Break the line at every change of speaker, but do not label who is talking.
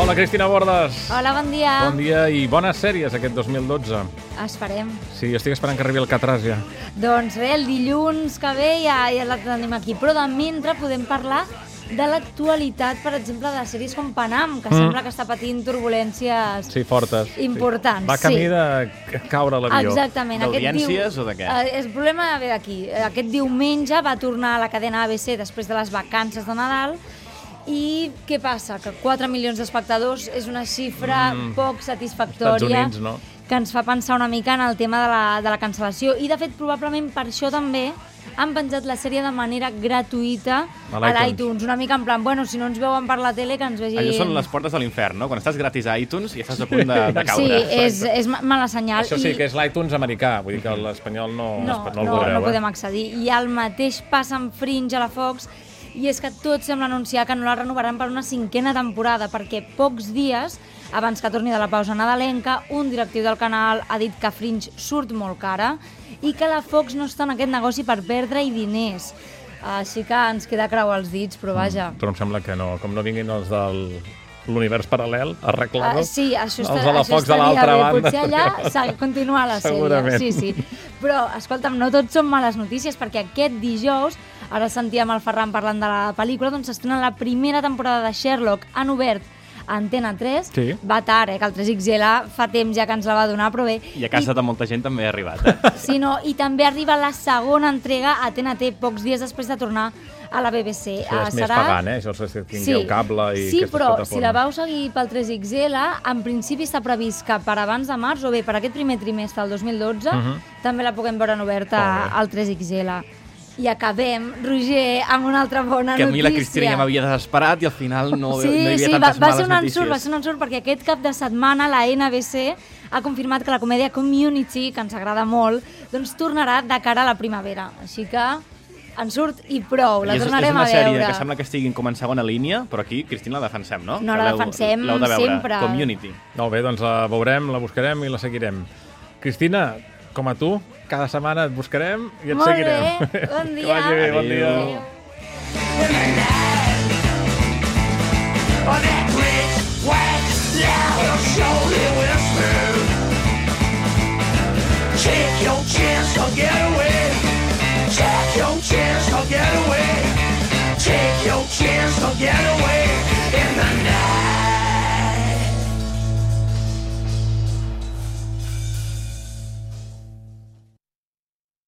Hola, Cristina Bordes.
Hola, bon dia.
Bon dia i bones sèries aquest 2012.
Esperem.
Sí, estic esperant que arribi el Catràs ja.
Doncs bé, el dilluns que ve ja, ja la tenim aquí, però de mentre podem parlar de l'actualitat, per exemple, de sèries com Panam, que
Mm.
sembla que està patint turbulències
Sí, fortes.
Importants,
sí. Va camí
sí.
de ca- caure a l'avió.
Exactament. aquest
D'audiències o de què?
Eh, el problema ve d'aquí. Eh, Aquest diumenge va tornar a la cadena ABC després de les vacances de Nadal i què passa? Que 4 milions d'espectadors és una xifra
Mm.
mm. poc satisfactòria
Units, no?
que ens fa pensar una mica en el tema de la, de la cancel·lació i de fet probablement per això també han penjat la sèrie de manera gratuïta
A
a
l'iTunes.
l'iTunes, una mica en plan, bueno, si no ens veuen per la tele que ens vegin...
Allò són les portes de l'infern, no? Quan estàs gratis a iTunes i estàs a punt de, de
Eh, Sí, eh,
caure.
és, és ma- mala senyal.
Això sí,
i-
que és l'iTunes americà, vull dir que l'espanyol no,
no,
no
no,
el veureu.
no podem
eh?
accedir. I el mateix passa amb Fringe a la Fox i és que tots sembla anunciar que no la renovaran per una cinquena temporada perquè pocs dies abans que torni de la pausa nadalenca un directiu del canal ha dit que Fringe surt molt cara i que la Fox no està en aquest negoci per perdre-hi diners. Així que ens queda creu als dits, però vaja...
Però em sembla que no. Com no vinguin els del l'univers paral·lel, arreglado.
Ah, sí, això, està,
els de la
això
Fox de
estaria
l'altra
bé.
banda.
Potser allà s'ha de continuar la sèrie.
Segurament.
Sí, sí. Però, escolta'm, no tot són males notícies, perquè aquest dijous, ara sentíem el Ferran parlant de la pel·lícula, doncs s'estrena la primera temporada de Sherlock en obert a Antena 3.
Sí.
Va tard, eh, que el 3XL fa temps ja que ens la va donar, però bé.
I a casa de molta gent també ha arribat, eh?
Sí, no, i també arriba la segona entrega a TNT pocs dies després de tornar a la BBC.
Això ja
Eh,
és més pagant, eh? Això és que tingueu cable i
sí,
aquestes
però
plataformes.
si la vau seguir pel 3XL, en principi està previst que per abans de març o bé per aquest primer trimestre del 2012
Mhm.
també la puguem veure en
Molt
oberta
bé.
al 3XL. I acabem, Roger, amb una altra bona
que a
notícia.
mi la Cristina ja m'havia desesperat i al final no,
Sí,
no hi havia
sí, va,
tantes
va
males
ser un
notícies.
ensurt, va ser un ensurt, perquè aquest cap de setmana la NBC ha confirmat que la comèdia Community, que ens agrada molt, doncs tornarà de cara a la primavera. Així que ensurt i prou, la
I és, és
tornarem
una
a
sèrie
veure.
que sembla que estiguin com en segona línia, però aquí, Cristina, la defensem, no?
No,
Que
la
l'heu-
defensem
l'heu de veure.
sempre.
Community.
Molt bé, doncs la veurem, la buscarem i la seguirem. Cristina, com a tu, cada setmana et buscarem i et
Molt
seguirem.
bé, bon
Que vagi bé, bon dia.
Adéu.
on that rich, white, loud, shoulder whisper. Take your chance to get away. Take your chance to get away. Take your chance to get away in the night.